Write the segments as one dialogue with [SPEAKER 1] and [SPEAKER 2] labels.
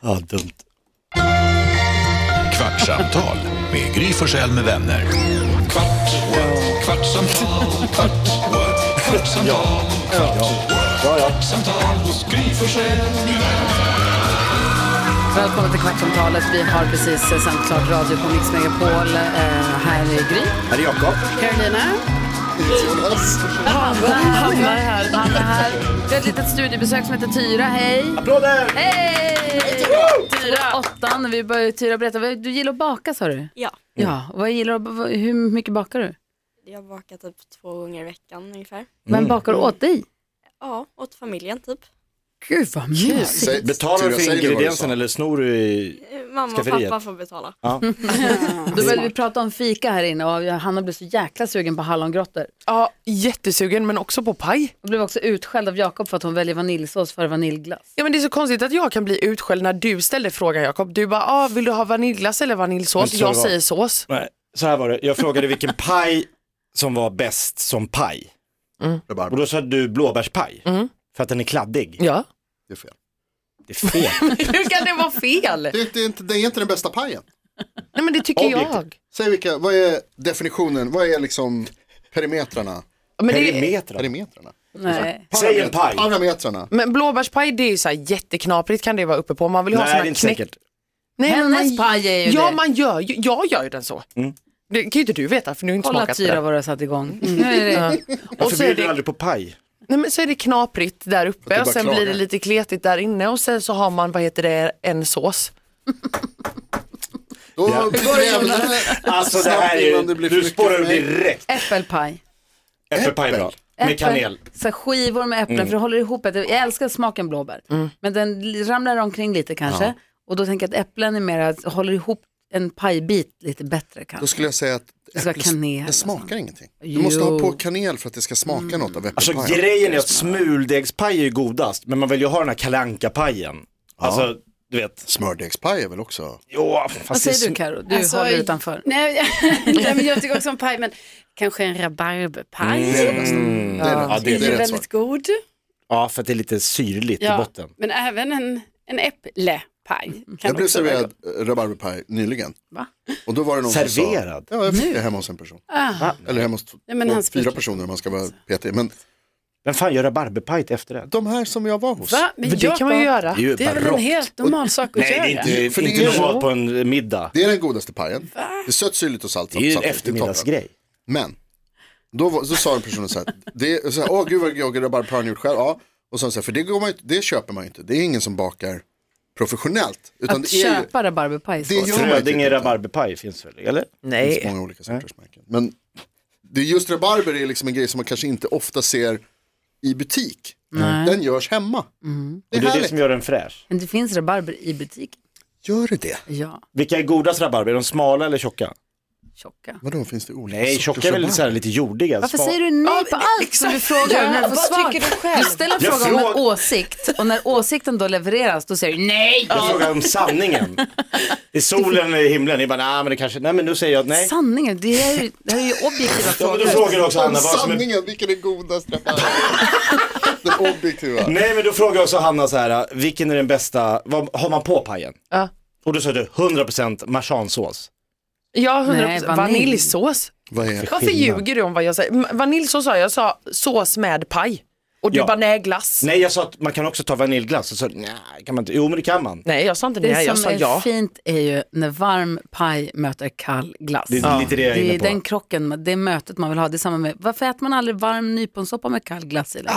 [SPEAKER 1] Ja, dumt.
[SPEAKER 2] Kvartsamtal med Gry Forssell med vänner. Kvart, what? kvartsamtal, kvart, what? kvartsamtal, kvart, what? kvartsamtal hos Gry Forssell med vänner.
[SPEAKER 3] Välkomna till Kvartsamtalet. Vi har precis eh, sänt klart radio på Mix Megapol. Eh, här är Gry.
[SPEAKER 4] Här är Jakob.
[SPEAKER 3] Carolina. Hanna Hanna är här. Hanna är här. Vi har ett litet studiebesök som heter Tyra. Hej!
[SPEAKER 4] Applåder!
[SPEAKER 3] Hej! Tyra! Åttan. Vi börjar, Tyra, berätta. vad- Du gillar att baka sa du?
[SPEAKER 5] Ja,
[SPEAKER 3] Ja. Vad gillar, du att- vad- hur mycket bakar du?
[SPEAKER 5] jag bakar typ två gånger i veckan ungefär.
[SPEAKER 3] Men bakar du åt dig?
[SPEAKER 5] Ja, åt familjen typ.
[SPEAKER 3] Gud vad mysigt.
[SPEAKER 6] Säg-
[SPEAKER 4] Betalar
[SPEAKER 6] Tyra,
[SPEAKER 4] du
[SPEAKER 6] säg
[SPEAKER 4] för
[SPEAKER 6] vad du
[SPEAKER 4] ingredienserna
[SPEAKER 6] sa.
[SPEAKER 4] eller snor du i...
[SPEAKER 5] Eh, Mamma och
[SPEAKER 4] Skafferiet.
[SPEAKER 5] pappa får betala.
[SPEAKER 3] Då började vi prata om fika här inne och jag- Hanna blev så jäkla sugen på hallongrottor.
[SPEAKER 7] Ja, jättesugen men också på paj.
[SPEAKER 3] Jag blev också utskälld av Jakob för att hon väljer vaniljsås före vaniljglass.
[SPEAKER 7] Ja, men det är så konstigt att jag kan bli utskälld när du ställer frågan Jakob. Du bara, ah, vill du ha vaniljglass eller
[SPEAKER 4] Men
[SPEAKER 7] vaniljsås?
[SPEAKER 4] så det
[SPEAKER 7] Jag
[SPEAKER 4] var.
[SPEAKER 7] säger sås.
[SPEAKER 4] Nej, så här var det. Jag frågade vilken paj som var bäst som paj.
[SPEAKER 6] Rabarber.
[SPEAKER 4] Och då sa du blåbärspaj. För att den är kladdig.
[SPEAKER 7] Ja.
[SPEAKER 6] Det är fel.
[SPEAKER 4] Det är fel.
[SPEAKER 7] Hur kan det vara fel?
[SPEAKER 6] Det är, det, är inte, det är inte den bästa pajen.
[SPEAKER 7] Nej men det tycker jag.
[SPEAKER 4] Objektivt.
[SPEAKER 6] Säg vilka, vad är definitionen, vad är liksom perimetrarna?
[SPEAKER 7] Men, det,
[SPEAKER 4] Perimetrar.
[SPEAKER 6] Perimetrarna?
[SPEAKER 3] Nej.
[SPEAKER 4] Säg en paj.
[SPEAKER 6] Parametrarna.
[SPEAKER 7] men blåbärspaj det är ju så här jätteknaprigt kan det vara uppe på. Man vill ha
[SPEAKER 4] Nej,
[SPEAKER 7] såna
[SPEAKER 4] det är
[SPEAKER 7] här
[SPEAKER 4] inte
[SPEAKER 7] knäck...
[SPEAKER 4] säkert.
[SPEAKER 7] Nej, men
[SPEAKER 3] Hennes
[SPEAKER 7] man...
[SPEAKER 3] paj är ju
[SPEAKER 7] Ja,
[SPEAKER 3] det.
[SPEAKER 7] man gör ju, jag gör ju den så.
[SPEAKER 4] Mm.
[SPEAKER 7] Det kan ju inte du veta för du har inte
[SPEAKER 3] Kolla
[SPEAKER 7] smakat på
[SPEAKER 3] Tyra
[SPEAKER 7] det.
[SPEAKER 3] vad du har satt igång. Mm, Nu är det
[SPEAKER 7] Och
[SPEAKER 4] Varför
[SPEAKER 7] så är
[SPEAKER 4] bjuder du
[SPEAKER 7] det,
[SPEAKER 4] aldrig på paj?
[SPEAKER 7] nej, men så är det knaprigt där
[SPEAKER 6] är
[SPEAKER 7] uppe och
[SPEAKER 6] bara
[SPEAKER 7] sen
[SPEAKER 6] klaga.
[SPEAKER 7] blir det lite kletigt där inne och sen så har man, vad heter det, en sås.
[SPEAKER 6] Då
[SPEAKER 4] Ja.
[SPEAKER 6] blir det jävla...
[SPEAKER 4] Alltså det
[SPEAKER 6] Snabbt
[SPEAKER 4] här är
[SPEAKER 6] innan det
[SPEAKER 4] ju,
[SPEAKER 6] blir för
[SPEAKER 4] du
[SPEAKER 6] mycket
[SPEAKER 4] spårar
[SPEAKER 6] för
[SPEAKER 4] ur
[SPEAKER 6] mig.
[SPEAKER 4] direkt.
[SPEAKER 3] äppelpaj.
[SPEAKER 4] Äppelpaj är bra. Med
[SPEAKER 3] Äppel,
[SPEAKER 4] kanel.
[SPEAKER 3] Så här skivor med äpplen, för det håller ihop. ett- Jag älskar smaken blåbär.
[SPEAKER 7] Mm.
[SPEAKER 3] Men den li- ramlar omkring lite kanske. Och då tänker jag att äpplen är mer, att- håller ihop en pajbit lite bättre
[SPEAKER 6] Då
[SPEAKER 3] kanske.
[SPEAKER 6] skulle jag säga att
[SPEAKER 3] ska
[SPEAKER 6] äpples-
[SPEAKER 3] kanel
[SPEAKER 6] det
[SPEAKER 3] och
[SPEAKER 6] smakar ingenting. Du
[SPEAKER 3] Jo.
[SPEAKER 6] måste ha på kanel för att det ska smaka något av
[SPEAKER 4] Alltså
[SPEAKER 6] äppelpajen.
[SPEAKER 4] grejen är att smuldegspaj är ju godast. Men man vill ju ha den här kalanka pajen Alltså, du vet.
[SPEAKER 6] Smördegspaj är väl också...
[SPEAKER 4] Jo,
[SPEAKER 3] Vad
[SPEAKER 4] fast det är
[SPEAKER 3] säger du
[SPEAKER 4] sm-
[SPEAKER 3] Karo? Du
[SPEAKER 8] Alltså,
[SPEAKER 3] håller utanför.
[SPEAKER 8] Nej, nej, men jag tycker också om paj, men kanske en
[SPEAKER 4] Mm.
[SPEAKER 8] rabarberpaj.
[SPEAKER 6] Det är det bästa. Det är, Ja, rätt- det är,
[SPEAKER 8] Den är
[SPEAKER 6] rätt svar.
[SPEAKER 8] väldigt god.
[SPEAKER 4] Ja, för att det är lite syrligt i botten.
[SPEAKER 8] Men även en, en äpplepaj. kan
[SPEAKER 6] Jag blev
[SPEAKER 8] också vara
[SPEAKER 6] serverad
[SPEAKER 8] god.
[SPEAKER 6] eh, rabarberpaj nyligen.
[SPEAKER 3] Va?
[SPEAKER 6] Och då var det någon
[SPEAKER 4] Serverad?
[SPEAKER 6] som sa... Ja, jag fick det hemma hos en person. Eller hemma hos t-
[SPEAKER 8] Ah, Nej, men
[SPEAKER 6] två-
[SPEAKER 8] han
[SPEAKER 6] fyra
[SPEAKER 8] spelar-
[SPEAKER 6] personer om man ska vara petig. Men
[SPEAKER 4] Vem fan gör rabarberpaj till efterrätt?
[SPEAKER 6] de här som jag var hos.
[SPEAKER 8] Va? Men
[SPEAKER 7] För det kan man ju
[SPEAKER 8] Jakob,
[SPEAKER 7] göra.
[SPEAKER 4] Det är ju
[SPEAKER 8] Det är väl en
[SPEAKER 4] barockt.
[SPEAKER 8] helt normal sak att
[SPEAKER 4] Nej, det
[SPEAKER 8] göra?
[SPEAKER 4] är inte,
[SPEAKER 6] För det
[SPEAKER 4] inte
[SPEAKER 6] är-
[SPEAKER 4] normalt på en middag.
[SPEAKER 6] Det är den godaste pajen. Det är sött, syrligt och salt.
[SPEAKER 4] Det är ju en
[SPEAKER 6] saftigt. toppen.
[SPEAKER 4] eftermiddagsgrej.
[SPEAKER 6] Men, då, var, då sa den personen så här, det är så här, åh gud vad jag och rabarberpajen gjort själv. Ja. Och så sa han så här, för det, går man, ju inte- det köper man ju inte. Det är ingen som bakar professionellt. Utan
[SPEAKER 3] Att
[SPEAKER 6] det är ju
[SPEAKER 3] köpa rabarberpaj.
[SPEAKER 6] det gör man ju typ
[SPEAKER 4] Frödinge
[SPEAKER 6] inte.
[SPEAKER 4] rabarberpaj finns väl, eller?
[SPEAKER 6] Det finns
[SPEAKER 7] Nej.
[SPEAKER 6] många olika sorters märken. Men det är just rabarber är liksom en grej som man kanske inte ofta ser i butik. Den görs hemma. Det
[SPEAKER 3] Mm.
[SPEAKER 4] Och det
[SPEAKER 6] är
[SPEAKER 4] är det
[SPEAKER 6] härligt.
[SPEAKER 4] som gör den fräsch.
[SPEAKER 3] Men det finns rabarber i butik.
[SPEAKER 6] Gör det det?
[SPEAKER 3] Ja,
[SPEAKER 4] Vilka är godast rabarber? Är de smala eller tjocka?
[SPEAKER 3] tjocka.
[SPEAKER 6] Vadå, finns det olika
[SPEAKER 4] Nej,
[SPEAKER 6] sorters
[SPEAKER 4] tjocka är väl
[SPEAKER 6] rabarber?
[SPEAKER 4] så här lite jordiga.
[SPEAKER 3] Varför
[SPEAKER 4] smal-
[SPEAKER 3] säger du nej på allt som du frågar? När du, får svar? du ställer
[SPEAKER 4] Jag
[SPEAKER 3] frågan om en
[SPEAKER 4] frågar-
[SPEAKER 3] åsikt och när åsikten då levereras då säger du nej.
[SPEAKER 4] Jag frågar om sanningen. I solen i himlen, ni bara, nej men det kanske, nej men nu säger jag nej.
[SPEAKER 3] Sanningen, det här är ju, det här är ju objektiva
[SPEAKER 4] Ja, men då
[SPEAKER 3] frågor.
[SPEAKER 4] frågar du också Hanna vad som är...
[SPEAKER 6] Sanningen, vilken är godast rabarber? Den objektiva.
[SPEAKER 4] Nej men då frågar jag också Hanna så här, vilken är den bästa, vad har man på pajen?
[SPEAKER 7] Ja.
[SPEAKER 4] Och då sa du 100% marsansås.
[SPEAKER 7] Ja, 100%
[SPEAKER 3] Nej, vanilj.
[SPEAKER 7] vaniljsås.
[SPEAKER 6] Vad är
[SPEAKER 7] Varför ljuger du om vad jag säger? M- Vaniljsås sa jag, jag sa sås med paj. Och du
[SPEAKER 4] Ja.
[SPEAKER 7] bara nej glass. Nej.
[SPEAKER 4] Nej jag sa att man kan också ta vaniljglass, och så nej kan man inte, jo men det kan man.
[SPEAKER 7] jag sa inte
[SPEAKER 3] Det
[SPEAKER 7] nej, jag
[SPEAKER 3] som
[SPEAKER 7] sa
[SPEAKER 3] är
[SPEAKER 7] ja.
[SPEAKER 3] fint är ju när varm paj möter kall glass.
[SPEAKER 4] Det är lite det jag är
[SPEAKER 3] Det
[SPEAKER 4] inne
[SPEAKER 3] är
[SPEAKER 4] på.
[SPEAKER 3] den krocken, man- det mötet man vill ha. Det är samma med, varför äter man aldrig varm nyponsoppa med kall glass i längre?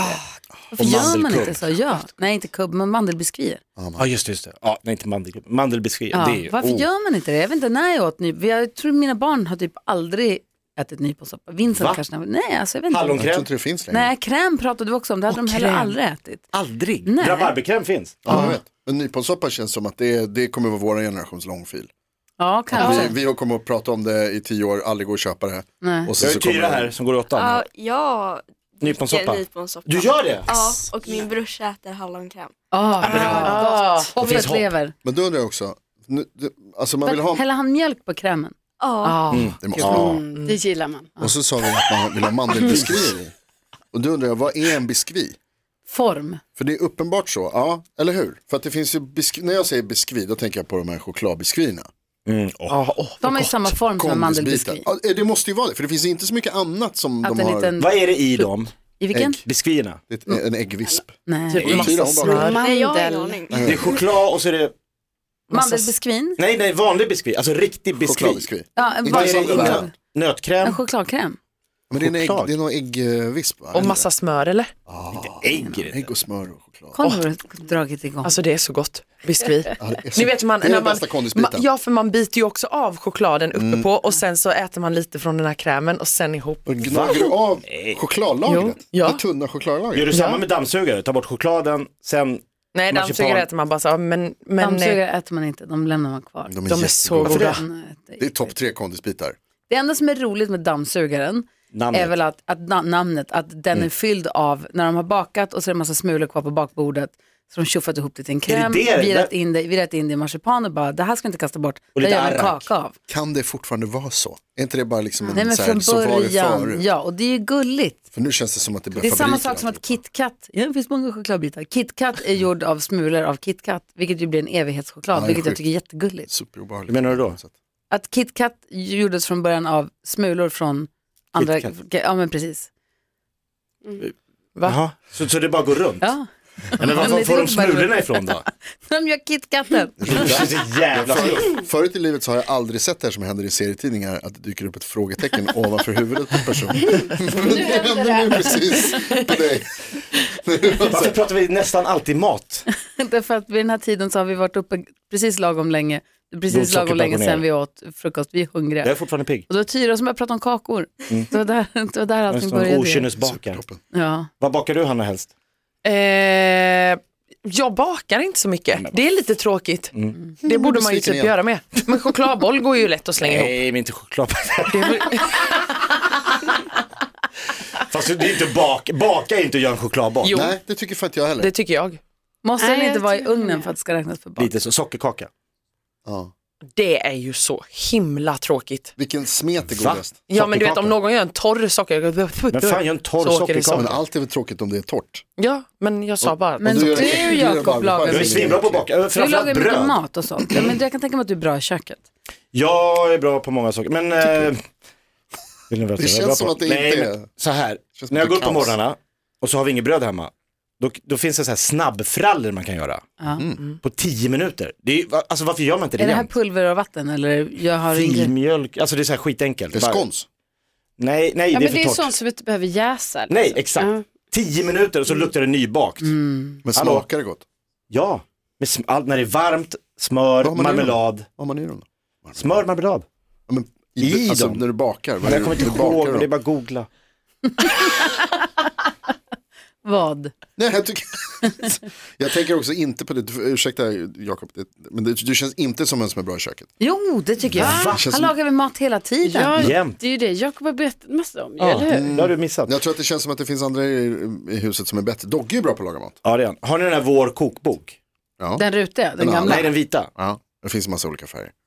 [SPEAKER 3] Varför
[SPEAKER 4] och
[SPEAKER 3] gör man
[SPEAKER 4] mandelkubb.
[SPEAKER 3] inte så? Ja. Nej, inte kubb, men mandelbiskvier.
[SPEAKER 4] Ja just det, just det. Ja, nej inte mandel, mandelbiskvi.
[SPEAKER 3] Ja.
[SPEAKER 4] Det är ju,
[SPEAKER 3] Varför
[SPEAKER 4] oh.
[SPEAKER 3] gör man inte det? Jag vet inte när jag åt nyponsoppa. Jag tror mina barn har typ aldrig ätit nyponsoppa. Vincent
[SPEAKER 4] Va?
[SPEAKER 3] kanske. Nej, alltså jag vet inte.
[SPEAKER 6] Jag tror
[SPEAKER 4] Hallonkräm?
[SPEAKER 6] inte det finns längre.
[SPEAKER 3] Nej, kräm pratade vi också om. Det hade de heller
[SPEAKER 7] kräm.
[SPEAKER 3] aldrig ätit.
[SPEAKER 4] Aldrig.
[SPEAKER 3] Nej.
[SPEAKER 4] Rabarberkräm finns.
[SPEAKER 6] Ja, jag vet. Men nyponsoppa känns som att det, det kommer vara vår generations långfil.
[SPEAKER 3] Ja, kanske.
[SPEAKER 6] Vi, vi kommer att prata om det i tio år, aldrig gå och köpa det.
[SPEAKER 3] Nej.
[SPEAKER 6] Och
[SPEAKER 4] Jag har
[SPEAKER 6] sen
[SPEAKER 4] ju
[SPEAKER 6] så kommer
[SPEAKER 4] Tyra
[SPEAKER 6] det-
[SPEAKER 4] här som går i åttan.
[SPEAKER 5] Ja, jag
[SPEAKER 4] Nyponsoppa.
[SPEAKER 5] dricker nyponsoppa.
[SPEAKER 4] Du gör det?
[SPEAKER 5] Ja, och min brorsa äter hallonkräm.
[SPEAKER 3] Ah,
[SPEAKER 7] Ah.
[SPEAKER 3] Och
[SPEAKER 4] Det finns hopp.
[SPEAKER 3] fettlever.
[SPEAKER 6] Men då undrar jag också, nu, det- alltså man vill
[SPEAKER 3] Men
[SPEAKER 6] ha,
[SPEAKER 3] Häller han mjölk på krämen?
[SPEAKER 5] Ja,
[SPEAKER 6] det måste man ha.
[SPEAKER 8] Mm, det gillar man.
[SPEAKER 6] Och så sa vi att man vill ha mandelbiskvi. i. Och då undrar jag, vad är en biskvi?
[SPEAKER 3] form.
[SPEAKER 6] För det är uppenbart så, ja, eller hur? För att det finns ju, besk- när jag säger biskvi, då tänker jag på de här chokladbiskvierna.
[SPEAKER 4] Mm,
[SPEAKER 7] Ja, åh,
[SPEAKER 3] De har ju samma form som en
[SPEAKER 6] Kondisbiten.
[SPEAKER 3] mandelbiskvi.
[SPEAKER 6] Ja, eh, det måste ju vara det, för det finns inte så mycket annat som
[SPEAKER 3] Att
[SPEAKER 6] de
[SPEAKER 3] en
[SPEAKER 6] har.
[SPEAKER 3] liten,
[SPEAKER 4] Vad är det i dem?
[SPEAKER 3] I vilken?
[SPEAKER 4] Biskvierna?
[SPEAKER 6] Det är En äggvisp.
[SPEAKER 3] Nej.
[SPEAKER 4] Typ
[SPEAKER 6] Och en tira,
[SPEAKER 7] massa
[SPEAKER 6] hon bara-
[SPEAKER 7] smör.
[SPEAKER 5] Nej, jag har ingen
[SPEAKER 8] Mandel.
[SPEAKER 5] aning.
[SPEAKER 4] Det är choklad och så är det,
[SPEAKER 3] Mandelbiskvin?
[SPEAKER 4] nej nej vanlig biskvi, alltså riktig biskvi.
[SPEAKER 6] Chokladbiskvi.
[SPEAKER 3] Ja, en,
[SPEAKER 4] Vad är det
[SPEAKER 6] vanlig-
[SPEAKER 4] i den?
[SPEAKER 3] en
[SPEAKER 4] Nötkräm?
[SPEAKER 3] chokladkräm.
[SPEAKER 6] Men det är, en ägg,
[SPEAKER 4] Choklad.
[SPEAKER 6] det är någon äggvisp va?
[SPEAKER 7] Och massa smör eller?
[SPEAKER 4] Ägg i det.
[SPEAKER 6] Ägg och smör och choklad.
[SPEAKER 3] Kolla vad du har dragit igång.
[SPEAKER 7] Alltså det är så gott, biskvi.
[SPEAKER 6] Ja, det är så-
[SPEAKER 7] Ni vet man,
[SPEAKER 6] det är
[SPEAKER 7] när
[SPEAKER 6] den
[SPEAKER 7] man,
[SPEAKER 6] bästa kondisbiten.
[SPEAKER 7] ma- ja för man biter ju också av chokladen uppe på och sen så äter man lite från den här krämen och sen ihop.
[SPEAKER 6] Och gnager du av chokladlagret?
[SPEAKER 7] Jo, ja.
[SPEAKER 6] Det tunna chokladlagret?
[SPEAKER 4] Gör du samma
[SPEAKER 7] Ja.
[SPEAKER 4] med dammsugare? Ta bort chokladen, sen,
[SPEAKER 7] Nej
[SPEAKER 4] Marsipan.
[SPEAKER 7] dammsugare äter man bara så, ja, men, men eh,
[SPEAKER 3] Dammsugare äter man inte, de lämnar man kvar.
[SPEAKER 7] de är så
[SPEAKER 6] jättegoda.
[SPEAKER 7] goda.
[SPEAKER 3] Nej,
[SPEAKER 6] Det är topp tre kondisbitar.
[SPEAKER 3] Det enda som är roligt med dammsugaren
[SPEAKER 4] namnet.
[SPEAKER 3] är väl att, att na- namnet, att den
[SPEAKER 6] Mm.
[SPEAKER 3] är fylld av, när de har bakat och så är det en massa smulor kvar på bakbordet, så de tjuffat ihop det till en kräm,
[SPEAKER 4] det det?
[SPEAKER 3] virat,
[SPEAKER 4] Där-
[SPEAKER 3] in det, virat in det i marsipan och bara, det här ska jag inte kasta bort,
[SPEAKER 4] Och
[SPEAKER 3] det
[SPEAKER 4] lite
[SPEAKER 3] gör jag en
[SPEAKER 4] arrak.
[SPEAKER 3] kaka av.
[SPEAKER 6] Kan det fortfarande vara så? Är inte det bara liksom en
[SPEAKER 3] Nej men
[SPEAKER 6] så här,
[SPEAKER 3] från
[SPEAKER 6] så var det
[SPEAKER 3] början,
[SPEAKER 6] förut?
[SPEAKER 3] ja och det är ju gulligt.
[SPEAKER 6] För nu känns det som att det blir
[SPEAKER 3] Det är samma
[SPEAKER 6] fabriken alltså.
[SPEAKER 3] sak som att
[SPEAKER 6] alltihopa.
[SPEAKER 3] KitKat, ja, det finns många chokladbitar, KitKat är gjord av smulor av KitKat, vilket ju blir en evighetschoklad,
[SPEAKER 6] Ja, det är
[SPEAKER 3] vilket jag
[SPEAKER 6] sjukt.
[SPEAKER 3] tycker är jättegulligt.
[SPEAKER 6] Superobehagligt.
[SPEAKER 4] Hur menar du då?
[SPEAKER 6] Så att-
[SPEAKER 3] Att KitKat gjordes från början av smulor från andra,
[SPEAKER 4] KitKat.
[SPEAKER 3] ja men precis.
[SPEAKER 7] Va?
[SPEAKER 4] Jaha. Så, så det bara går runt?
[SPEAKER 3] Ja.
[SPEAKER 4] Nej, men
[SPEAKER 3] Men det
[SPEAKER 4] var får
[SPEAKER 3] går
[SPEAKER 4] de
[SPEAKER 3] inte bara runt.
[SPEAKER 4] smulorna ifrån då?
[SPEAKER 3] De gör KitKatten.
[SPEAKER 4] Det är så jävla fluff.
[SPEAKER 6] Förut i livet så har jag aldrig sett det här som händer i serietidningar, att det dyker upp ett frågetecken ovanför huvudet på en person. Men det hände nu precis på dig.
[SPEAKER 4] Varför pratar vi nästan alltid mat?
[SPEAKER 3] Därför att vid den här tiden så har vi varit uppe precis lagom länge, precis
[SPEAKER 4] Blodsockret
[SPEAKER 3] lagom länge
[SPEAKER 4] bara går ner.
[SPEAKER 3] sedan vi åt frukost, vi är hungriga.
[SPEAKER 4] Jag är fortfarande pigg.
[SPEAKER 3] Och det var Tyra som började prata om kakor. Det, var där, det var där
[SPEAKER 4] Jag är
[SPEAKER 3] allting
[SPEAKER 4] Mm. som en
[SPEAKER 3] började.
[SPEAKER 4] okynnesbakare.
[SPEAKER 3] Ja.
[SPEAKER 4] Vad bakar du Hanna helst?
[SPEAKER 7] Eh, jag bakar inte så mycket,
[SPEAKER 4] Mm.
[SPEAKER 7] det är lite tråkigt. Det borde man ju
[SPEAKER 6] besviken
[SPEAKER 7] typ
[SPEAKER 6] igen.
[SPEAKER 7] göra med. Men chokladboll går ju lätt att
[SPEAKER 6] Eh,
[SPEAKER 7] slänga ihop.
[SPEAKER 4] Nej, men inte choklad.
[SPEAKER 7] Det är väl-
[SPEAKER 4] Fast det är inte bak, baka är inte att göra en chokladboll.
[SPEAKER 7] Jo,
[SPEAKER 6] Nej, det tycker fan inte jag heller.
[SPEAKER 7] det tycker jag.
[SPEAKER 3] Måste
[SPEAKER 8] Nej,
[SPEAKER 3] den inte
[SPEAKER 8] jag
[SPEAKER 3] vara i
[SPEAKER 8] tycker
[SPEAKER 3] ugnen
[SPEAKER 8] det.
[SPEAKER 3] för att det ska räknas för bak?
[SPEAKER 4] Lite så, sockerkaka.
[SPEAKER 6] Ja.
[SPEAKER 7] Det är ju så himla tråkigt.
[SPEAKER 6] Vilken smet är
[SPEAKER 4] Va?
[SPEAKER 6] godast?
[SPEAKER 7] Ja men du vet
[SPEAKER 4] Sockerkaka.
[SPEAKER 7] om någon gör en torr sockerkaka.
[SPEAKER 4] Men fan, gör en torr
[SPEAKER 7] Så åker det
[SPEAKER 4] sockerkaka.
[SPEAKER 6] Men
[SPEAKER 7] socker.
[SPEAKER 6] allt är väl tråkigt om det är torrt.
[SPEAKER 7] Ja men jag sa bara.
[SPEAKER 3] Men
[SPEAKER 6] Om
[SPEAKER 3] du,
[SPEAKER 6] gör en äcklig
[SPEAKER 3] Jakob,
[SPEAKER 6] rabarberpaj,
[SPEAKER 4] Jag
[SPEAKER 3] lagar
[SPEAKER 6] det
[SPEAKER 4] är
[SPEAKER 3] väl
[SPEAKER 6] ingen
[SPEAKER 4] svinbra på att
[SPEAKER 6] äcklig.
[SPEAKER 4] baka, eh,
[SPEAKER 3] Du lagar
[SPEAKER 4] framförallt
[SPEAKER 3] ju mycket
[SPEAKER 4] bröd.
[SPEAKER 3] mat och sånt. Ja, men jag kan tänka mig att du är bra i köket.
[SPEAKER 4] Jag är bra på många saker, men... eh, vill ni veta vad jag är
[SPEAKER 6] känns
[SPEAKER 4] bra
[SPEAKER 6] som
[SPEAKER 4] på?
[SPEAKER 6] att det
[SPEAKER 4] Nej,
[SPEAKER 6] inte är-
[SPEAKER 4] men Så här,
[SPEAKER 6] känns
[SPEAKER 4] när jag
[SPEAKER 6] som
[SPEAKER 4] går
[SPEAKER 6] att
[SPEAKER 4] upp
[SPEAKER 6] det är
[SPEAKER 4] på
[SPEAKER 6] kaos.
[SPEAKER 4] morgnarna och så har vi inget bröd hemma, då, då finns det så här snabbfrallor man kan göra.
[SPEAKER 3] Ja.
[SPEAKER 4] På 10 minuter. Det är, ju- va- alltså varför gör man inte det,
[SPEAKER 3] Är det här
[SPEAKER 4] jämt?
[SPEAKER 3] pulver och vatten eller? Jag har ingen...
[SPEAKER 4] Filmjölk, alltså det är så här skitenkelt.
[SPEAKER 6] Det är
[SPEAKER 4] Bara-
[SPEAKER 6] skons.
[SPEAKER 4] Nej, nej
[SPEAKER 8] Ja,
[SPEAKER 4] det är
[SPEAKER 8] men
[SPEAKER 4] för
[SPEAKER 8] det är
[SPEAKER 4] torrt.
[SPEAKER 8] sånt som inte behöver jäsa. liksom.
[SPEAKER 4] Nej, exakt.
[SPEAKER 8] Ja. Mm.
[SPEAKER 4] 10 minuter och så luktar det nybakt.
[SPEAKER 6] Men
[SPEAKER 4] Hallå.
[SPEAKER 6] smakar det gott?
[SPEAKER 4] Ja, med sm- allt när det är varmt, smör,
[SPEAKER 6] har man i
[SPEAKER 4] marmelad.
[SPEAKER 6] Vad har man i dem då?
[SPEAKER 4] Smör, marmelad.
[SPEAKER 6] Ja, men
[SPEAKER 4] I
[SPEAKER 6] alltså,
[SPEAKER 4] dem?
[SPEAKER 6] när du bakar. vad
[SPEAKER 4] Men
[SPEAKER 6] är
[SPEAKER 4] jag
[SPEAKER 6] det
[SPEAKER 4] kommer
[SPEAKER 6] du
[SPEAKER 4] inte ihåg,
[SPEAKER 6] bakar
[SPEAKER 4] men
[SPEAKER 6] då?
[SPEAKER 4] det är bara att googla.
[SPEAKER 3] Vad?
[SPEAKER 6] Nej, jag, tycker... jag tänker också inte på det, Du får- ursäkta Jakob, det... men det, du känns inte som en som är bra i köket.
[SPEAKER 3] Jo, det tycker jag.
[SPEAKER 6] Va? Känns
[SPEAKER 3] Han
[SPEAKER 6] som-
[SPEAKER 3] lagar väl mat hela tiden?
[SPEAKER 8] Ja,
[SPEAKER 4] Jämt.
[SPEAKER 8] det är ju det Jakob har berättat mest om ju,
[SPEAKER 4] Ja,
[SPEAKER 8] eller hur?
[SPEAKER 4] det har du missat.
[SPEAKER 6] Jag tror att det känns som att det finns andra i, i huset som är bättre. Dogge är bra på att laga mat.
[SPEAKER 4] Ja, det är han. Har ni den här Vår kokbok?
[SPEAKER 6] Ja.
[SPEAKER 3] Den rutiga, den
[SPEAKER 6] Den
[SPEAKER 3] gamla.
[SPEAKER 4] Nej, den vita.
[SPEAKER 6] Ja, det finns en massa olika färger.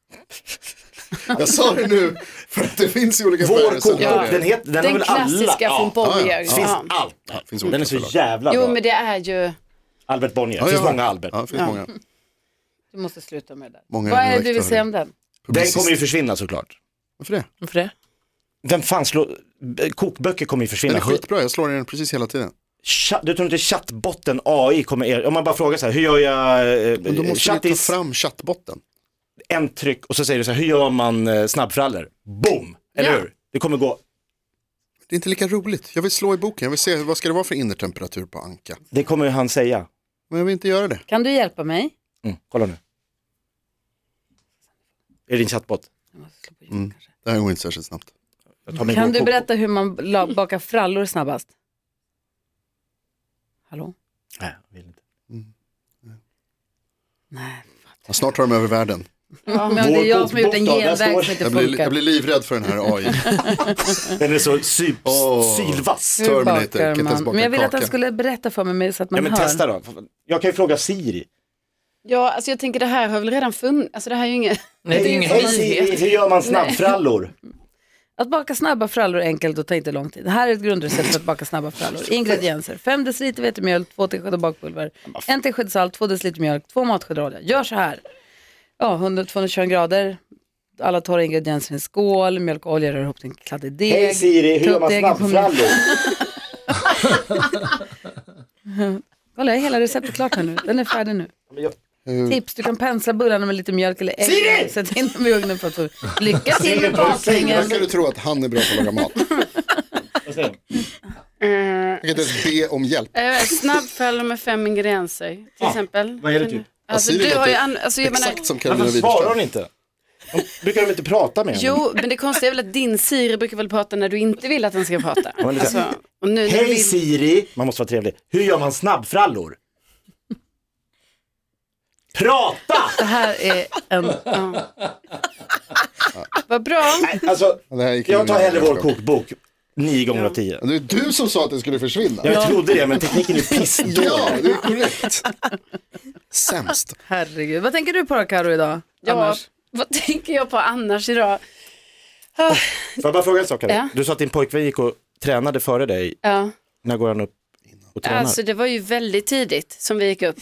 [SPEAKER 6] Jag sa det nu för att det finns i olika
[SPEAKER 4] Vår
[SPEAKER 6] färger. så
[SPEAKER 4] kokbok,
[SPEAKER 6] det är det.
[SPEAKER 4] den, heter, den, har
[SPEAKER 8] Den
[SPEAKER 4] väl alla.
[SPEAKER 8] klassiska från
[SPEAKER 4] ja.
[SPEAKER 8] Bonnier.
[SPEAKER 6] Ja,
[SPEAKER 4] Det finns
[SPEAKER 8] Ja.
[SPEAKER 4] allt.
[SPEAKER 6] Det finns
[SPEAKER 4] Den
[SPEAKER 6] olika
[SPEAKER 4] är så
[SPEAKER 6] färger.
[SPEAKER 4] jävla
[SPEAKER 8] Jo
[SPEAKER 4] bra.
[SPEAKER 8] men det är ju,
[SPEAKER 4] Albert Bonnier.
[SPEAKER 6] Ja,
[SPEAKER 4] Det finns
[SPEAKER 6] ja.
[SPEAKER 4] många Albert.
[SPEAKER 6] Ja, det finns många.
[SPEAKER 3] Du måste sluta med det där.
[SPEAKER 6] Många
[SPEAKER 3] Vad är det du vill
[SPEAKER 6] redaktörer.
[SPEAKER 3] säga om den?
[SPEAKER 4] Den
[SPEAKER 6] Publicist.
[SPEAKER 4] kommer ju försvinna såklart.
[SPEAKER 6] Varför det?
[SPEAKER 7] För det?
[SPEAKER 4] Vem fan slår... b- Kokböcker kommer ju
[SPEAKER 6] Den
[SPEAKER 4] försvinna.
[SPEAKER 6] är skitbra, jag slår i den precis hela tiden.
[SPEAKER 4] Cha- du tror inte chattbotten AI kommer... Er... Om man bara frågar så här, hur gör jag... eh,
[SPEAKER 6] Men då måste vi ta
[SPEAKER 4] chattis?
[SPEAKER 6] fram chattbotten.
[SPEAKER 4] en tryck och så säger du så här, hur gör man eh, snabbfrallor? Boom! Eller
[SPEAKER 3] Ja.
[SPEAKER 4] hur? Det kommer gå,
[SPEAKER 6] Det är inte lika roligt. Jag vill slå i boken, jag vill se vad ska det vara för innertemperatur på anka.
[SPEAKER 4] det kommer han säga.
[SPEAKER 6] Men jag vill inte göra det.
[SPEAKER 3] Kan du hjälpa mig?
[SPEAKER 4] Mm, kolla nu. Är det din chattbot?
[SPEAKER 6] Det här går inte särskilt snabbt.
[SPEAKER 4] Jag tar min
[SPEAKER 3] Kan du
[SPEAKER 4] kokbok.
[SPEAKER 3] berätta hur man la- bakar frallor snabbast? Hallå?
[SPEAKER 4] Nej, jag vill inte.
[SPEAKER 3] Nej.
[SPEAKER 6] Ja, Snart tar de över världen.
[SPEAKER 3] Men det är jag som har gjort en
[SPEAKER 4] Vår kokbok då, där
[SPEAKER 3] genväg som
[SPEAKER 4] står-
[SPEAKER 3] inte
[SPEAKER 6] Jag blir, jag
[SPEAKER 3] funkar.
[SPEAKER 6] blir livrädd för den här AI.
[SPEAKER 4] Den är så sy-
[SPEAKER 6] Åh.
[SPEAKER 4] sylvass.
[SPEAKER 6] Hur
[SPEAKER 3] Hur
[SPEAKER 6] Terminator, kan
[SPEAKER 3] bakar
[SPEAKER 6] inte ens
[SPEAKER 3] man?
[SPEAKER 6] baka
[SPEAKER 3] Men jag ville att den
[SPEAKER 6] kaka.
[SPEAKER 3] skulle berätta för mig med- så att
[SPEAKER 4] Ja
[SPEAKER 3] man
[SPEAKER 4] men
[SPEAKER 3] hör.
[SPEAKER 4] testa då. Jag kan ju fråga Siri.
[SPEAKER 8] ja alltså jag tänker det här har väl redan funnits, alltså det här är ju inget,
[SPEAKER 7] Nej, det är ju ingen
[SPEAKER 4] Hej Siri,
[SPEAKER 7] nyhet.
[SPEAKER 4] hur gör man snabbfrallor?
[SPEAKER 3] Att baka snabba frallor är enkelt och tar inte lång tid. Här är ett grundrecept för att baka snabba frallor. Ingredienser. 5 deciliter vetemjöl, 2 teskedar bakpulver, 1 tesked salt, 2 deciliter mjölk, 2 matskedar olja. Gör så här. Ja, 100-220 grader. Alla torra ingredienser i en skål, mjölk och olja rör ihop till en kladdig deg.
[SPEAKER 1] Hej Siri, hur gör man
[SPEAKER 3] Klumpdegen på mjölk-
[SPEAKER 1] snabbfrallor?
[SPEAKER 3] Kolla, jag har hela receptet klart här nu. Den är färdig nu. Tips, du kan pensla bullarna med lite mjölk eller ägg. Siri! Sätt in dem i ugnen för att få lycka till med bakningen.
[SPEAKER 6] Verkar du tro att han är bra på att laga mat? Jag kan inte ens be om hjälp.
[SPEAKER 8] Eh, Snabbfällor med fem ingredienser, till exempel.
[SPEAKER 1] vad är det typ?
[SPEAKER 8] Alltså,
[SPEAKER 6] Siri
[SPEAKER 8] du har
[SPEAKER 6] vet
[SPEAKER 8] ju
[SPEAKER 6] det.
[SPEAKER 8] an- alltså, jag menar,
[SPEAKER 6] Exakt som Carolina
[SPEAKER 4] Varför svarar hon
[SPEAKER 6] Widerström.
[SPEAKER 4] inte? Hon brukar de inte prata med henne?
[SPEAKER 8] Jo, men det konstiga är väl att din Siri brukar väl prata när du inte vill att den ska prata.
[SPEAKER 4] men det är så-
[SPEAKER 8] Alltså, och nu när du
[SPEAKER 1] Hej
[SPEAKER 8] vill...
[SPEAKER 1] Siri!
[SPEAKER 4] Man måste vara trevlig. Hur gör man snabbfrallor? Prata!
[SPEAKER 3] Det här är en... Ja. Vad bra.
[SPEAKER 4] Nej, alltså,
[SPEAKER 6] Det här gick
[SPEAKER 4] jag
[SPEAKER 6] in i
[SPEAKER 4] tar
[SPEAKER 6] min
[SPEAKER 4] hellre vår
[SPEAKER 6] hjärnskakning.
[SPEAKER 4] kokbok. Nio gånger av tio.
[SPEAKER 6] Det är du som sa att det skulle försvinna.
[SPEAKER 4] Jag trodde det, men tekniken är pissdålig.
[SPEAKER 6] Ja, det är korrekt. Sämst.
[SPEAKER 3] Herregud. Vad tänker du på då Karo idag?
[SPEAKER 8] ja,
[SPEAKER 3] Annars?
[SPEAKER 8] Vad tänker jag på annars idag?
[SPEAKER 4] Får jag bara fråga en sak? Harry?
[SPEAKER 8] Ja.
[SPEAKER 4] Du sa att din pojkvän gick och tränade före dig.
[SPEAKER 8] Ja.
[SPEAKER 4] När går han upp och tränar?
[SPEAKER 8] Alltså det var ju väldigt tidigt som vi gick upp.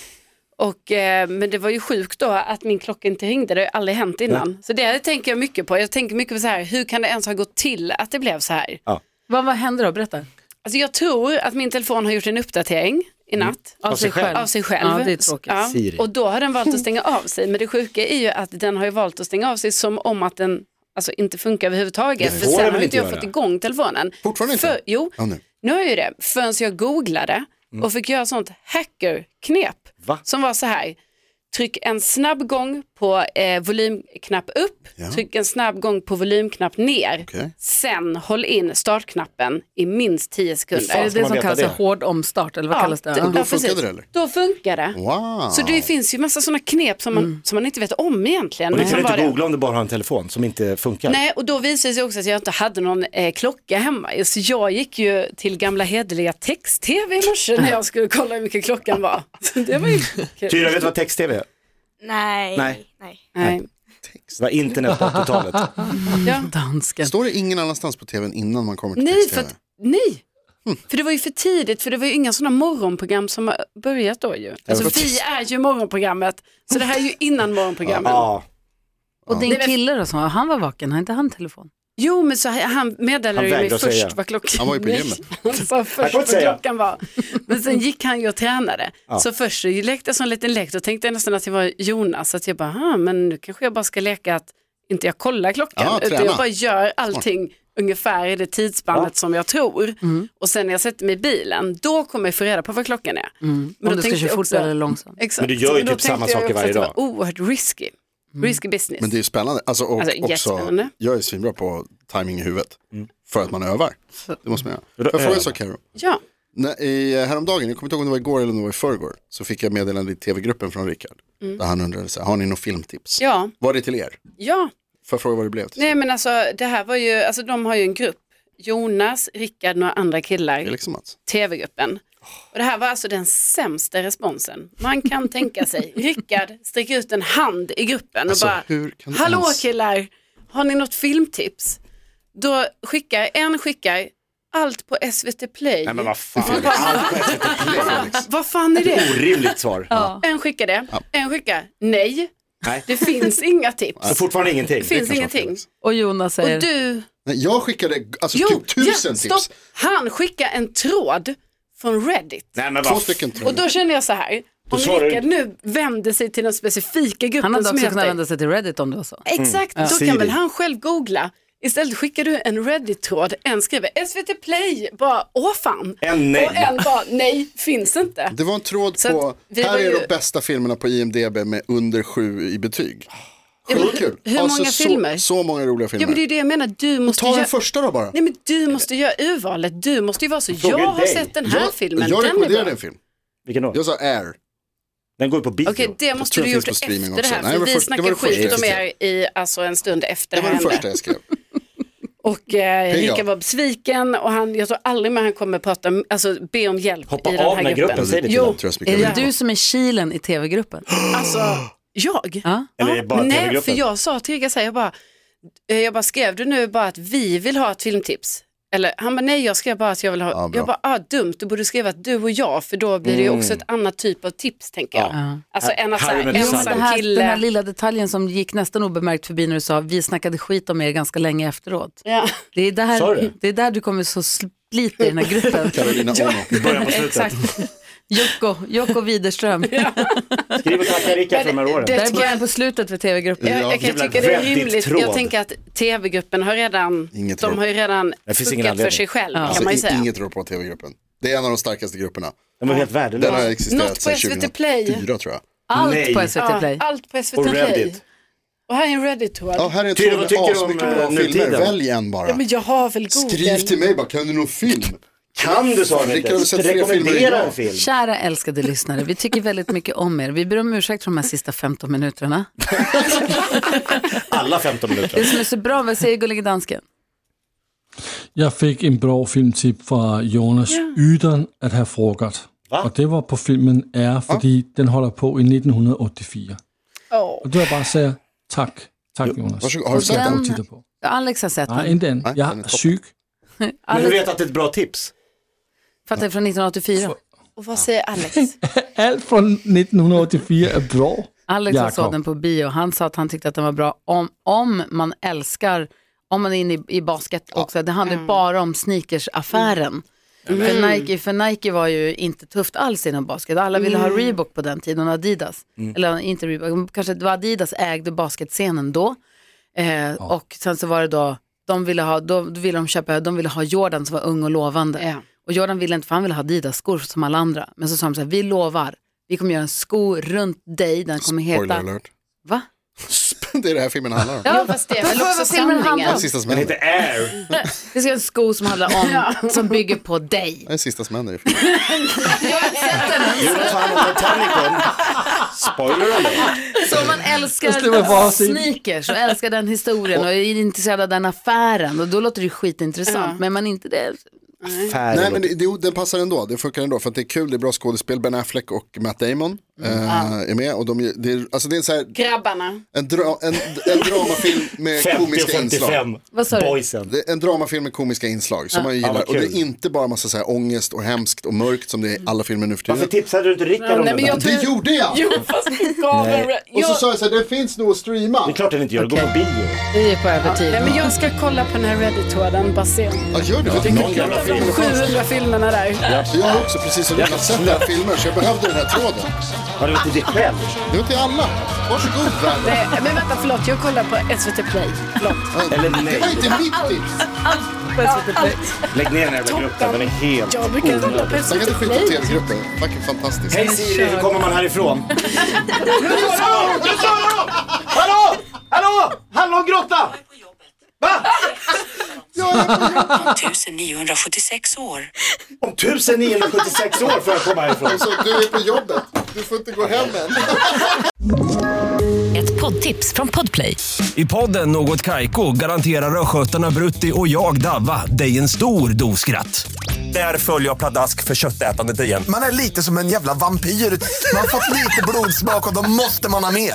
[SPEAKER 8] Och, eh, men det var ju sjukt då att min klocka inte ringde, det har ju aldrig hänt innan. Så det här tänker jag mycket på. Jag tänker mycket på så här, hur kan det ens ha gått till att det blev så här?
[SPEAKER 3] Vad, vad händer då? Berätta.
[SPEAKER 8] Alltså jag tror att min telefon har gjort en uppdatering i natt.
[SPEAKER 3] Av sig själv.
[SPEAKER 8] Av sig själv.
[SPEAKER 3] Ja, det är tråkigt.
[SPEAKER 8] Ja,
[SPEAKER 4] Siri.
[SPEAKER 8] Och då har den valt att stänga av sig. Men det sjuka är ju att den har ju valt att stänga av sig som om att den alltså, inte funkar överhuvudtaget.
[SPEAKER 4] Det
[SPEAKER 8] För
[SPEAKER 4] får den
[SPEAKER 8] sen har
[SPEAKER 4] väl
[SPEAKER 8] inte jag
[SPEAKER 4] inte
[SPEAKER 8] fått
[SPEAKER 4] göra?
[SPEAKER 8] igång telefonen.
[SPEAKER 6] Fortfarande inte?
[SPEAKER 8] För, jo,
[SPEAKER 6] Ja, nu. Mm.
[SPEAKER 8] nu har jag ju det. Förrän jag googlade och fick göra sånt hackerknep.
[SPEAKER 4] Va?
[SPEAKER 8] Som var så här. Tryck en snabb gång på eh, volymknapp upp, tryck en snabb gång på volymknapp ner.
[SPEAKER 6] Okej.
[SPEAKER 8] Sen håll in startknappen i minst 10 sekunder.
[SPEAKER 4] fan
[SPEAKER 3] Är det
[SPEAKER 4] ska
[SPEAKER 3] det
[SPEAKER 4] man
[SPEAKER 3] som
[SPEAKER 4] veta
[SPEAKER 3] kallas
[SPEAKER 4] det?
[SPEAKER 3] en hård omstart? Eller vad kallas det?
[SPEAKER 8] Ja,
[SPEAKER 3] Ja.
[SPEAKER 6] då
[SPEAKER 8] precis.
[SPEAKER 6] funkade det, eller?
[SPEAKER 8] Då funkar det.
[SPEAKER 6] Wow.
[SPEAKER 8] Så det finns ju massa sådana knep som man, som man inte vet om egentligen.
[SPEAKER 4] Och det
[SPEAKER 8] men
[SPEAKER 4] kan du
[SPEAKER 8] som
[SPEAKER 4] inte
[SPEAKER 8] var det.
[SPEAKER 4] googla om du bara har en telefon som inte funkar.
[SPEAKER 8] Nej, och då visade det sig också att jag inte hade någon eh, klocka hemma. Så jag gick ju till gamla hederliga text-tv i morse när jag skulle kolla hur mycket klockan var. Så det var ju kul.
[SPEAKER 4] Tyra, vet du vad text-tv är?
[SPEAKER 5] Nej.
[SPEAKER 4] Nej.
[SPEAKER 8] Nej.
[SPEAKER 4] Det var internet på 80-talet.
[SPEAKER 8] Ja.
[SPEAKER 3] Dansken.
[SPEAKER 6] Står det ingen annanstans på tvn innan man kommer till
[SPEAKER 8] Nej, för,
[SPEAKER 6] text-tv?
[SPEAKER 8] att, nej. för det var ju för tidigt, för det var ju inga sådana morgonprogram som har börjat då ju. Alltså
[SPEAKER 4] för-
[SPEAKER 8] vi är ju morgonprogrammet, så det här är ju innan morgonprogrammet.
[SPEAKER 4] Ja,
[SPEAKER 3] Och din kille då, som, han var vaken, har inte han telefon?
[SPEAKER 8] Jo, men så han meddelade
[SPEAKER 4] Han
[SPEAKER 8] ju mig
[SPEAKER 4] vägrade
[SPEAKER 8] först
[SPEAKER 4] säga.
[SPEAKER 8] vad klockan
[SPEAKER 6] Han var ju på
[SPEAKER 8] Nej,
[SPEAKER 6] gymmet.
[SPEAKER 8] Han sa först vad
[SPEAKER 4] säga.
[SPEAKER 8] klockan var. Men sen gick han ju och tränade. Så först så lekte jag som en liten lek, då tänkte jag nästan att det var Jonas. Så att jag bara, "Ah, men nu kanske jag bara ska leka att inte jag kollar klockan,
[SPEAKER 6] Ja,
[SPEAKER 8] utan
[SPEAKER 6] träna.
[SPEAKER 8] jag bara gör allting ungefär i det tidsspannet som jag tror.
[SPEAKER 6] Mm.
[SPEAKER 8] Och sen när jag sätter mig i bilen, då kommer jag få reda på vad klockan är.
[SPEAKER 6] Mm.
[SPEAKER 3] Om du ska
[SPEAKER 8] tänkte
[SPEAKER 3] köra
[SPEAKER 8] jag
[SPEAKER 3] fort
[SPEAKER 8] också-
[SPEAKER 3] eller långsamt.
[SPEAKER 8] Exakt.
[SPEAKER 4] Men du gör ju
[SPEAKER 8] Men då
[SPEAKER 4] typ samma
[SPEAKER 8] tänkte jag
[SPEAKER 4] saker
[SPEAKER 8] också att
[SPEAKER 4] varje
[SPEAKER 8] Det var oerhört risky.
[SPEAKER 6] Mm.
[SPEAKER 8] Risky business.
[SPEAKER 6] Men det är ju spännande. Alltså, och,
[SPEAKER 8] Alltså,
[SPEAKER 6] också,
[SPEAKER 8] jättespännande.
[SPEAKER 6] jag är svinbra på timing i huvudet. För att man övar. Det måste man göra.
[SPEAKER 4] då
[SPEAKER 6] Jag frågar
[SPEAKER 4] övar.
[SPEAKER 6] så Carro.
[SPEAKER 8] Ja.
[SPEAKER 6] När- i, eh, Häromdagen, jag kommer inte ihåg om det var igår eller om det var i förrgår, så fick jag meddelande i tv-gruppen från Rickard. Där han undrade, så här, har ni något filmtips?
[SPEAKER 8] Mm. ja,
[SPEAKER 6] Var det till er?
[SPEAKER 8] ja.
[SPEAKER 6] Får jag fråga vad det blev? Till?
[SPEAKER 8] Nej men alltså det här var ju, alltså de har ju en grupp. Jonas, Rickard, några andra
[SPEAKER 6] Det är
[SPEAKER 8] killar,
[SPEAKER 6] liksom att,
[SPEAKER 8] tv-gruppen. Och det här var alltså den sämsta responsen man kan tänka sig. Rickard sticker ut en hand i gruppen och
[SPEAKER 6] Alltså, hur kan
[SPEAKER 8] bara,
[SPEAKER 6] du
[SPEAKER 8] hallå
[SPEAKER 6] ens-
[SPEAKER 8] killar, har ni något filmtips? Då skickar, en skickar, allt på SVT Play.
[SPEAKER 4] nej men vad fan.
[SPEAKER 8] Vad fan är det?
[SPEAKER 4] Orimligt svar.
[SPEAKER 8] En skickar det, en skickar, nej,
[SPEAKER 4] Nej.
[SPEAKER 8] det finns inga tips.
[SPEAKER 4] Så fortfarande ingenting.
[SPEAKER 8] Det finns
[SPEAKER 6] kanske var
[SPEAKER 8] ingenting.
[SPEAKER 6] Felix.
[SPEAKER 3] Och Jonas säger,
[SPEAKER 8] Och du,
[SPEAKER 6] nej, jag skickade alltså, typ tusen
[SPEAKER 8] ja, stopp.
[SPEAKER 6] tips.
[SPEAKER 8] Han skickar en tråd från Reddit.
[SPEAKER 4] Nej men
[SPEAKER 6] Två
[SPEAKER 4] vad
[SPEAKER 6] stycken tror
[SPEAKER 8] Och
[SPEAKER 6] jag.
[SPEAKER 8] då känner jag så här, om
[SPEAKER 4] svarar
[SPEAKER 8] Rickard nu vänder sig till den specifika
[SPEAKER 3] han
[SPEAKER 8] gruppen
[SPEAKER 3] hade
[SPEAKER 8] som
[SPEAKER 3] också kunnat
[SPEAKER 8] heter...
[SPEAKER 3] vända sig Mm. till Reddit om det var så.
[SPEAKER 8] Exakt, då
[SPEAKER 4] Siri.
[SPEAKER 8] kan väl han själv googla. Istället skickar du en Reddit-tråd, en skriver SVT Play, bara åh fan.
[SPEAKER 4] En
[SPEAKER 8] Och
[SPEAKER 4] nej.
[SPEAKER 8] en bara nej, finns inte.
[SPEAKER 6] Det var en tråd
[SPEAKER 8] Så att
[SPEAKER 6] på,
[SPEAKER 8] vi
[SPEAKER 6] här
[SPEAKER 8] var
[SPEAKER 6] är
[SPEAKER 8] ju-
[SPEAKER 6] de bästa filmerna på IMDB med under sju i betyg. Skitkul.
[SPEAKER 8] hur många
[SPEAKER 6] så,
[SPEAKER 8] filmer?
[SPEAKER 6] Så många roliga filmer.
[SPEAKER 8] Ja men det är ju det jag menar, du måste
[SPEAKER 6] Ta
[SPEAKER 8] göra...
[SPEAKER 6] den första då bara.
[SPEAKER 8] Nej men du måste göra urvalet, du måste ju vara så, jag
[SPEAKER 4] Frågar
[SPEAKER 8] har
[SPEAKER 4] dig.
[SPEAKER 8] sett den här
[SPEAKER 6] jag, jag
[SPEAKER 8] filmen, den är bra.
[SPEAKER 6] rekommenderade en film.
[SPEAKER 4] Vilken då?
[SPEAKER 6] Jag sa Air.
[SPEAKER 4] Den går ju på bio.
[SPEAKER 8] Okej, det måste
[SPEAKER 6] tror
[SPEAKER 8] du
[SPEAKER 6] det
[SPEAKER 8] gjort
[SPEAKER 6] finns på streaming
[SPEAKER 8] efter det
[SPEAKER 6] också.
[SPEAKER 8] här.
[SPEAKER 6] Nej,
[SPEAKER 8] för
[SPEAKER 6] men
[SPEAKER 8] vi
[SPEAKER 6] först- det var
[SPEAKER 8] snackar
[SPEAKER 6] det första
[SPEAKER 8] skit
[SPEAKER 6] jag
[SPEAKER 8] om er i alltså, en stund efter
[SPEAKER 6] Det
[SPEAKER 8] det
[SPEAKER 6] var
[SPEAKER 8] här
[SPEAKER 6] den
[SPEAKER 8] hände.
[SPEAKER 6] första jag skrev.
[SPEAKER 8] Och
[SPEAKER 6] Pia.
[SPEAKER 8] eh, Rickard var besviken och han, jag tror aldrig mer han kommer prata, alltså be om hjälp
[SPEAKER 4] Hoppa
[SPEAKER 8] i den
[SPEAKER 4] av
[SPEAKER 8] här
[SPEAKER 4] den här
[SPEAKER 8] gruppen.
[SPEAKER 4] gruppen, säg det till
[SPEAKER 8] Jo,
[SPEAKER 4] dem.
[SPEAKER 6] Tror jag så mycket
[SPEAKER 3] Är
[SPEAKER 6] jag
[SPEAKER 3] det
[SPEAKER 6] vill.
[SPEAKER 3] du som är kilen i tv-gruppen?
[SPEAKER 8] alltså jag?
[SPEAKER 3] Ja.
[SPEAKER 4] Eller är det bara
[SPEAKER 8] nej,
[SPEAKER 4] TV-gruppen?
[SPEAKER 8] för jag sa till Rickard så här, jag bara, eh, jag bara skrev du nu bara att vi vill ha ett filmtips? Eller han bara nej jag skrev bara att jag vill ha,
[SPEAKER 6] Ja, bra. Mm.
[SPEAKER 8] jag bara ah, dumt du borde skriva att du och jag för då blir det ju också ett annat typ av tips tänker jag. Alltså än att så
[SPEAKER 4] Harry
[SPEAKER 8] här,
[SPEAKER 4] med design.
[SPEAKER 3] Den
[SPEAKER 8] ensam
[SPEAKER 3] här, den här
[SPEAKER 8] kille.
[SPEAKER 3] lilla detaljen som gick nästan obemärkt förbi när du sa vi snackade skit om er ganska länge efteråt.
[SPEAKER 8] Ja,
[SPEAKER 3] Det är
[SPEAKER 4] Sa
[SPEAKER 3] där,
[SPEAKER 4] du det?
[SPEAKER 3] det? är där du kommer så slit i den här gruppen.
[SPEAKER 6] Carolina Ono.
[SPEAKER 4] Början på slutet.
[SPEAKER 8] exakt.
[SPEAKER 3] Jocko, Jocko Widerström.
[SPEAKER 4] Skriv och tacka Rickard för de här åren.
[SPEAKER 3] Det
[SPEAKER 8] Det
[SPEAKER 3] är
[SPEAKER 8] tycker
[SPEAKER 3] början
[SPEAKER 8] jag-
[SPEAKER 3] på slutet för tv-gruppen.
[SPEAKER 8] Jag, jag kan
[SPEAKER 4] Jävla
[SPEAKER 8] tycka det är
[SPEAKER 4] väldigt
[SPEAKER 8] rimligt.
[SPEAKER 4] tråd.
[SPEAKER 8] Jag tänker att tv-gruppen har redan,
[SPEAKER 6] Inget
[SPEAKER 8] de
[SPEAKER 6] råd.
[SPEAKER 8] har ju redan
[SPEAKER 4] Det finns ingen
[SPEAKER 8] fuckat för
[SPEAKER 4] anledning.
[SPEAKER 8] sig själv
[SPEAKER 6] Alltså,
[SPEAKER 8] kan man ju
[SPEAKER 6] i-
[SPEAKER 8] säga.
[SPEAKER 6] inget rår på tv-gruppen. Det är en av de starkaste grupperna.
[SPEAKER 4] De var helt
[SPEAKER 6] Den har
[SPEAKER 4] värdelösa.
[SPEAKER 6] existerat
[SPEAKER 8] Något på
[SPEAKER 6] sedan
[SPEAKER 8] SVT Play.
[SPEAKER 6] 2004 tror jag.
[SPEAKER 3] Allt
[SPEAKER 4] Nej.
[SPEAKER 3] på SVT
[SPEAKER 8] Ja,
[SPEAKER 3] Play.
[SPEAKER 8] allt på
[SPEAKER 4] Och
[SPEAKER 8] SVT Play.
[SPEAKER 4] Reddit.
[SPEAKER 8] Och här är en Reddit-tråd.
[SPEAKER 6] Ja, här är en
[SPEAKER 4] Tyra, vad
[SPEAKER 6] tråd med
[SPEAKER 4] tycker du om,
[SPEAKER 6] asmycket bra
[SPEAKER 4] eh, nutiden?
[SPEAKER 6] filmer. Välj en
[SPEAKER 7] Ja,
[SPEAKER 6] bara.
[SPEAKER 7] men jag har väl Google.
[SPEAKER 6] Skriv till mig bara, kan du någon film?
[SPEAKER 4] Kan du sa de
[SPEAKER 6] Rickard har
[SPEAKER 4] inte.
[SPEAKER 6] sett fler filmer
[SPEAKER 4] Rekommendera
[SPEAKER 6] idag.
[SPEAKER 4] en film.
[SPEAKER 3] Kära älskade lyssnare, vi tycker väldigt mycket om er. Vi ber om ursäkt för de här sista 15 minuterna.
[SPEAKER 4] Alla 15
[SPEAKER 3] Det
[SPEAKER 4] minuter.
[SPEAKER 3] som är så bra, vad säger Gullige Dansken?
[SPEAKER 1] Jeg fik en bra filmtip fra Jonas Ydern at have frokost. Og det var på filmen R, fordi den holder på i 1984. Og det var bare sagde, tak, tak Jonas.
[SPEAKER 6] Varsågod, har du
[SPEAKER 1] Det skal
[SPEAKER 6] sett
[SPEAKER 1] jeg gå
[SPEAKER 3] den?
[SPEAKER 1] og titte på.
[SPEAKER 3] Alex har sett
[SPEAKER 1] Nej,
[SPEAKER 3] den.
[SPEAKER 1] inte än.
[SPEAKER 6] Nej,
[SPEAKER 1] Jag
[SPEAKER 6] den
[SPEAKER 1] är
[SPEAKER 6] är toppen.
[SPEAKER 1] syk.
[SPEAKER 4] Men du
[SPEAKER 3] Alex
[SPEAKER 4] vet att det är ett bra tips.
[SPEAKER 3] fattar från 1984.
[SPEAKER 7] Och vad säger Alex?
[SPEAKER 1] Allt från 1984 är bra.
[SPEAKER 3] Alex han
[SPEAKER 1] Jakob.
[SPEAKER 3] såg den på bio. Han sa att han tyckte att den var bra om, om man älskar, om man är inne i, i basket också. Det handlar ju bara om sneakersaffären. För, Nike, för Nike var ju inte tufft alls inom basket. Alla ville ha Reebok på den tiden och Adidas. Eller inte Reebok, kanske det var Adidas ägde basketscenen då. Eh, Och sen så var det då, de ville ha, då ville de köpa, de ville ha Jordan som var ung och lovande.
[SPEAKER 8] Ja.
[SPEAKER 3] Och Jordan ville inte, för han ville ha Adidas-skor som alla andra. Men så sa de så här, vi lovar, vi kommer göra en sko runt dig, den kommer
[SPEAKER 6] Spoiler
[SPEAKER 3] heta...
[SPEAKER 6] alert.
[SPEAKER 3] Va?
[SPEAKER 6] Det är det här filmen handlar om.
[SPEAKER 8] Ja, fast det är väl
[SPEAKER 3] Vad
[SPEAKER 8] också
[SPEAKER 3] fan, filmen handlar
[SPEAKER 8] sanningen.
[SPEAKER 6] Det är sista som
[SPEAKER 4] Den
[SPEAKER 6] händer.
[SPEAKER 4] heter Air.
[SPEAKER 3] Vi ska göra en sko som handlar om, som bygger på dig.
[SPEAKER 6] Det är det sista som händer i filmen.
[SPEAKER 4] Jonas han och Titanicon. Spoiler alert.
[SPEAKER 3] Så om man
[SPEAKER 1] Jag slår mig
[SPEAKER 3] älskar
[SPEAKER 1] fast i-
[SPEAKER 3] sneakers och älskar den historien och är intresserad av den affären, och då låter det ju skitintressant. Men man inte det,
[SPEAKER 6] Nej men
[SPEAKER 4] Färg.
[SPEAKER 6] det, det, den passar ändå, det funkar ändå för att det är kul, det är bra skådespel, Ben Affleck och Matt Damon
[SPEAKER 4] Mm.
[SPEAKER 6] eh, är med och de, det är, alltså det är en så här,
[SPEAKER 8] Grabbarna.
[SPEAKER 6] en, dra, en, en dramafilm med
[SPEAKER 4] 50 och
[SPEAKER 6] komiska inslag.
[SPEAKER 4] 55.
[SPEAKER 3] Vad sa du?
[SPEAKER 4] Boysen.
[SPEAKER 6] Det är en dramafilm med komiska inslag som man ju
[SPEAKER 4] Ja,
[SPEAKER 6] gillar.
[SPEAKER 4] vad
[SPEAKER 6] och det
[SPEAKER 4] kul.
[SPEAKER 6] är inte bara massa så här ångest och hemskt och mörkt som det är i alla filmer nu för
[SPEAKER 4] Varför
[SPEAKER 6] tiden.
[SPEAKER 4] tipsade du inte Rickard om
[SPEAKER 8] Nej,
[SPEAKER 4] den?
[SPEAKER 8] men jag
[SPEAKER 4] där?
[SPEAKER 8] tror...
[SPEAKER 6] Det gjorde jag!
[SPEAKER 8] Jo, fast du gav en... re-
[SPEAKER 6] Och så
[SPEAKER 8] Jag...
[SPEAKER 6] sa jag så här, den finns nog att
[SPEAKER 4] Det
[SPEAKER 6] streama.
[SPEAKER 4] är klart den inte gör. Gå på bio.
[SPEAKER 3] vi är på övertid.
[SPEAKER 8] Nej, men jag ska kolla på den här Reddit-tråden bara se om...
[SPEAKER 6] Ja, gör det. Jag,
[SPEAKER 4] Någon
[SPEAKER 6] tycker,
[SPEAKER 4] jävla film.
[SPEAKER 8] De 700 filmerna där.
[SPEAKER 6] jag har också precis som Jonas sett den här filmen så jag behövde den här tråden.
[SPEAKER 4] Har du inte det själv?
[SPEAKER 6] Det var till alla. Varsågod världen.
[SPEAKER 8] Nej, Men vänta, förlåt, jag kollar på SVT Play. Förlåt.
[SPEAKER 4] Eller
[SPEAKER 6] Det
[SPEAKER 4] nej.
[SPEAKER 6] var inte mitt tips.
[SPEAKER 4] Lägg ner den här jävla gruppen. Den är helt
[SPEAKER 8] Jag brukar kolla på
[SPEAKER 6] Jag kan inte
[SPEAKER 8] SVT
[SPEAKER 6] skita på
[SPEAKER 8] Play.
[SPEAKER 6] tv-gruppen. Fucking fantastiskt.
[SPEAKER 4] Hej Siri, hur kommer man härifrån? Du sa dem! Du sa dem! Hallå! Hallå! Hallongrotta! Va?
[SPEAKER 9] 1976 år.
[SPEAKER 4] Om 1976 år får jag komma härifrån.
[SPEAKER 6] Så du är på jobbet. Du får inte gå hem än.
[SPEAKER 10] Ett poddtips från Podplay.
[SPEAKER 11] I podden Något Kaiko garanterar östgötarna Brutti och jag, Davva, dig en stor dos skratt. Där följer jag pladask för köttätandet igen.
[SPEAKER 12] Man är lite som en jävla vampyr. Man har fått lite blodsmak och då måste man ha mer.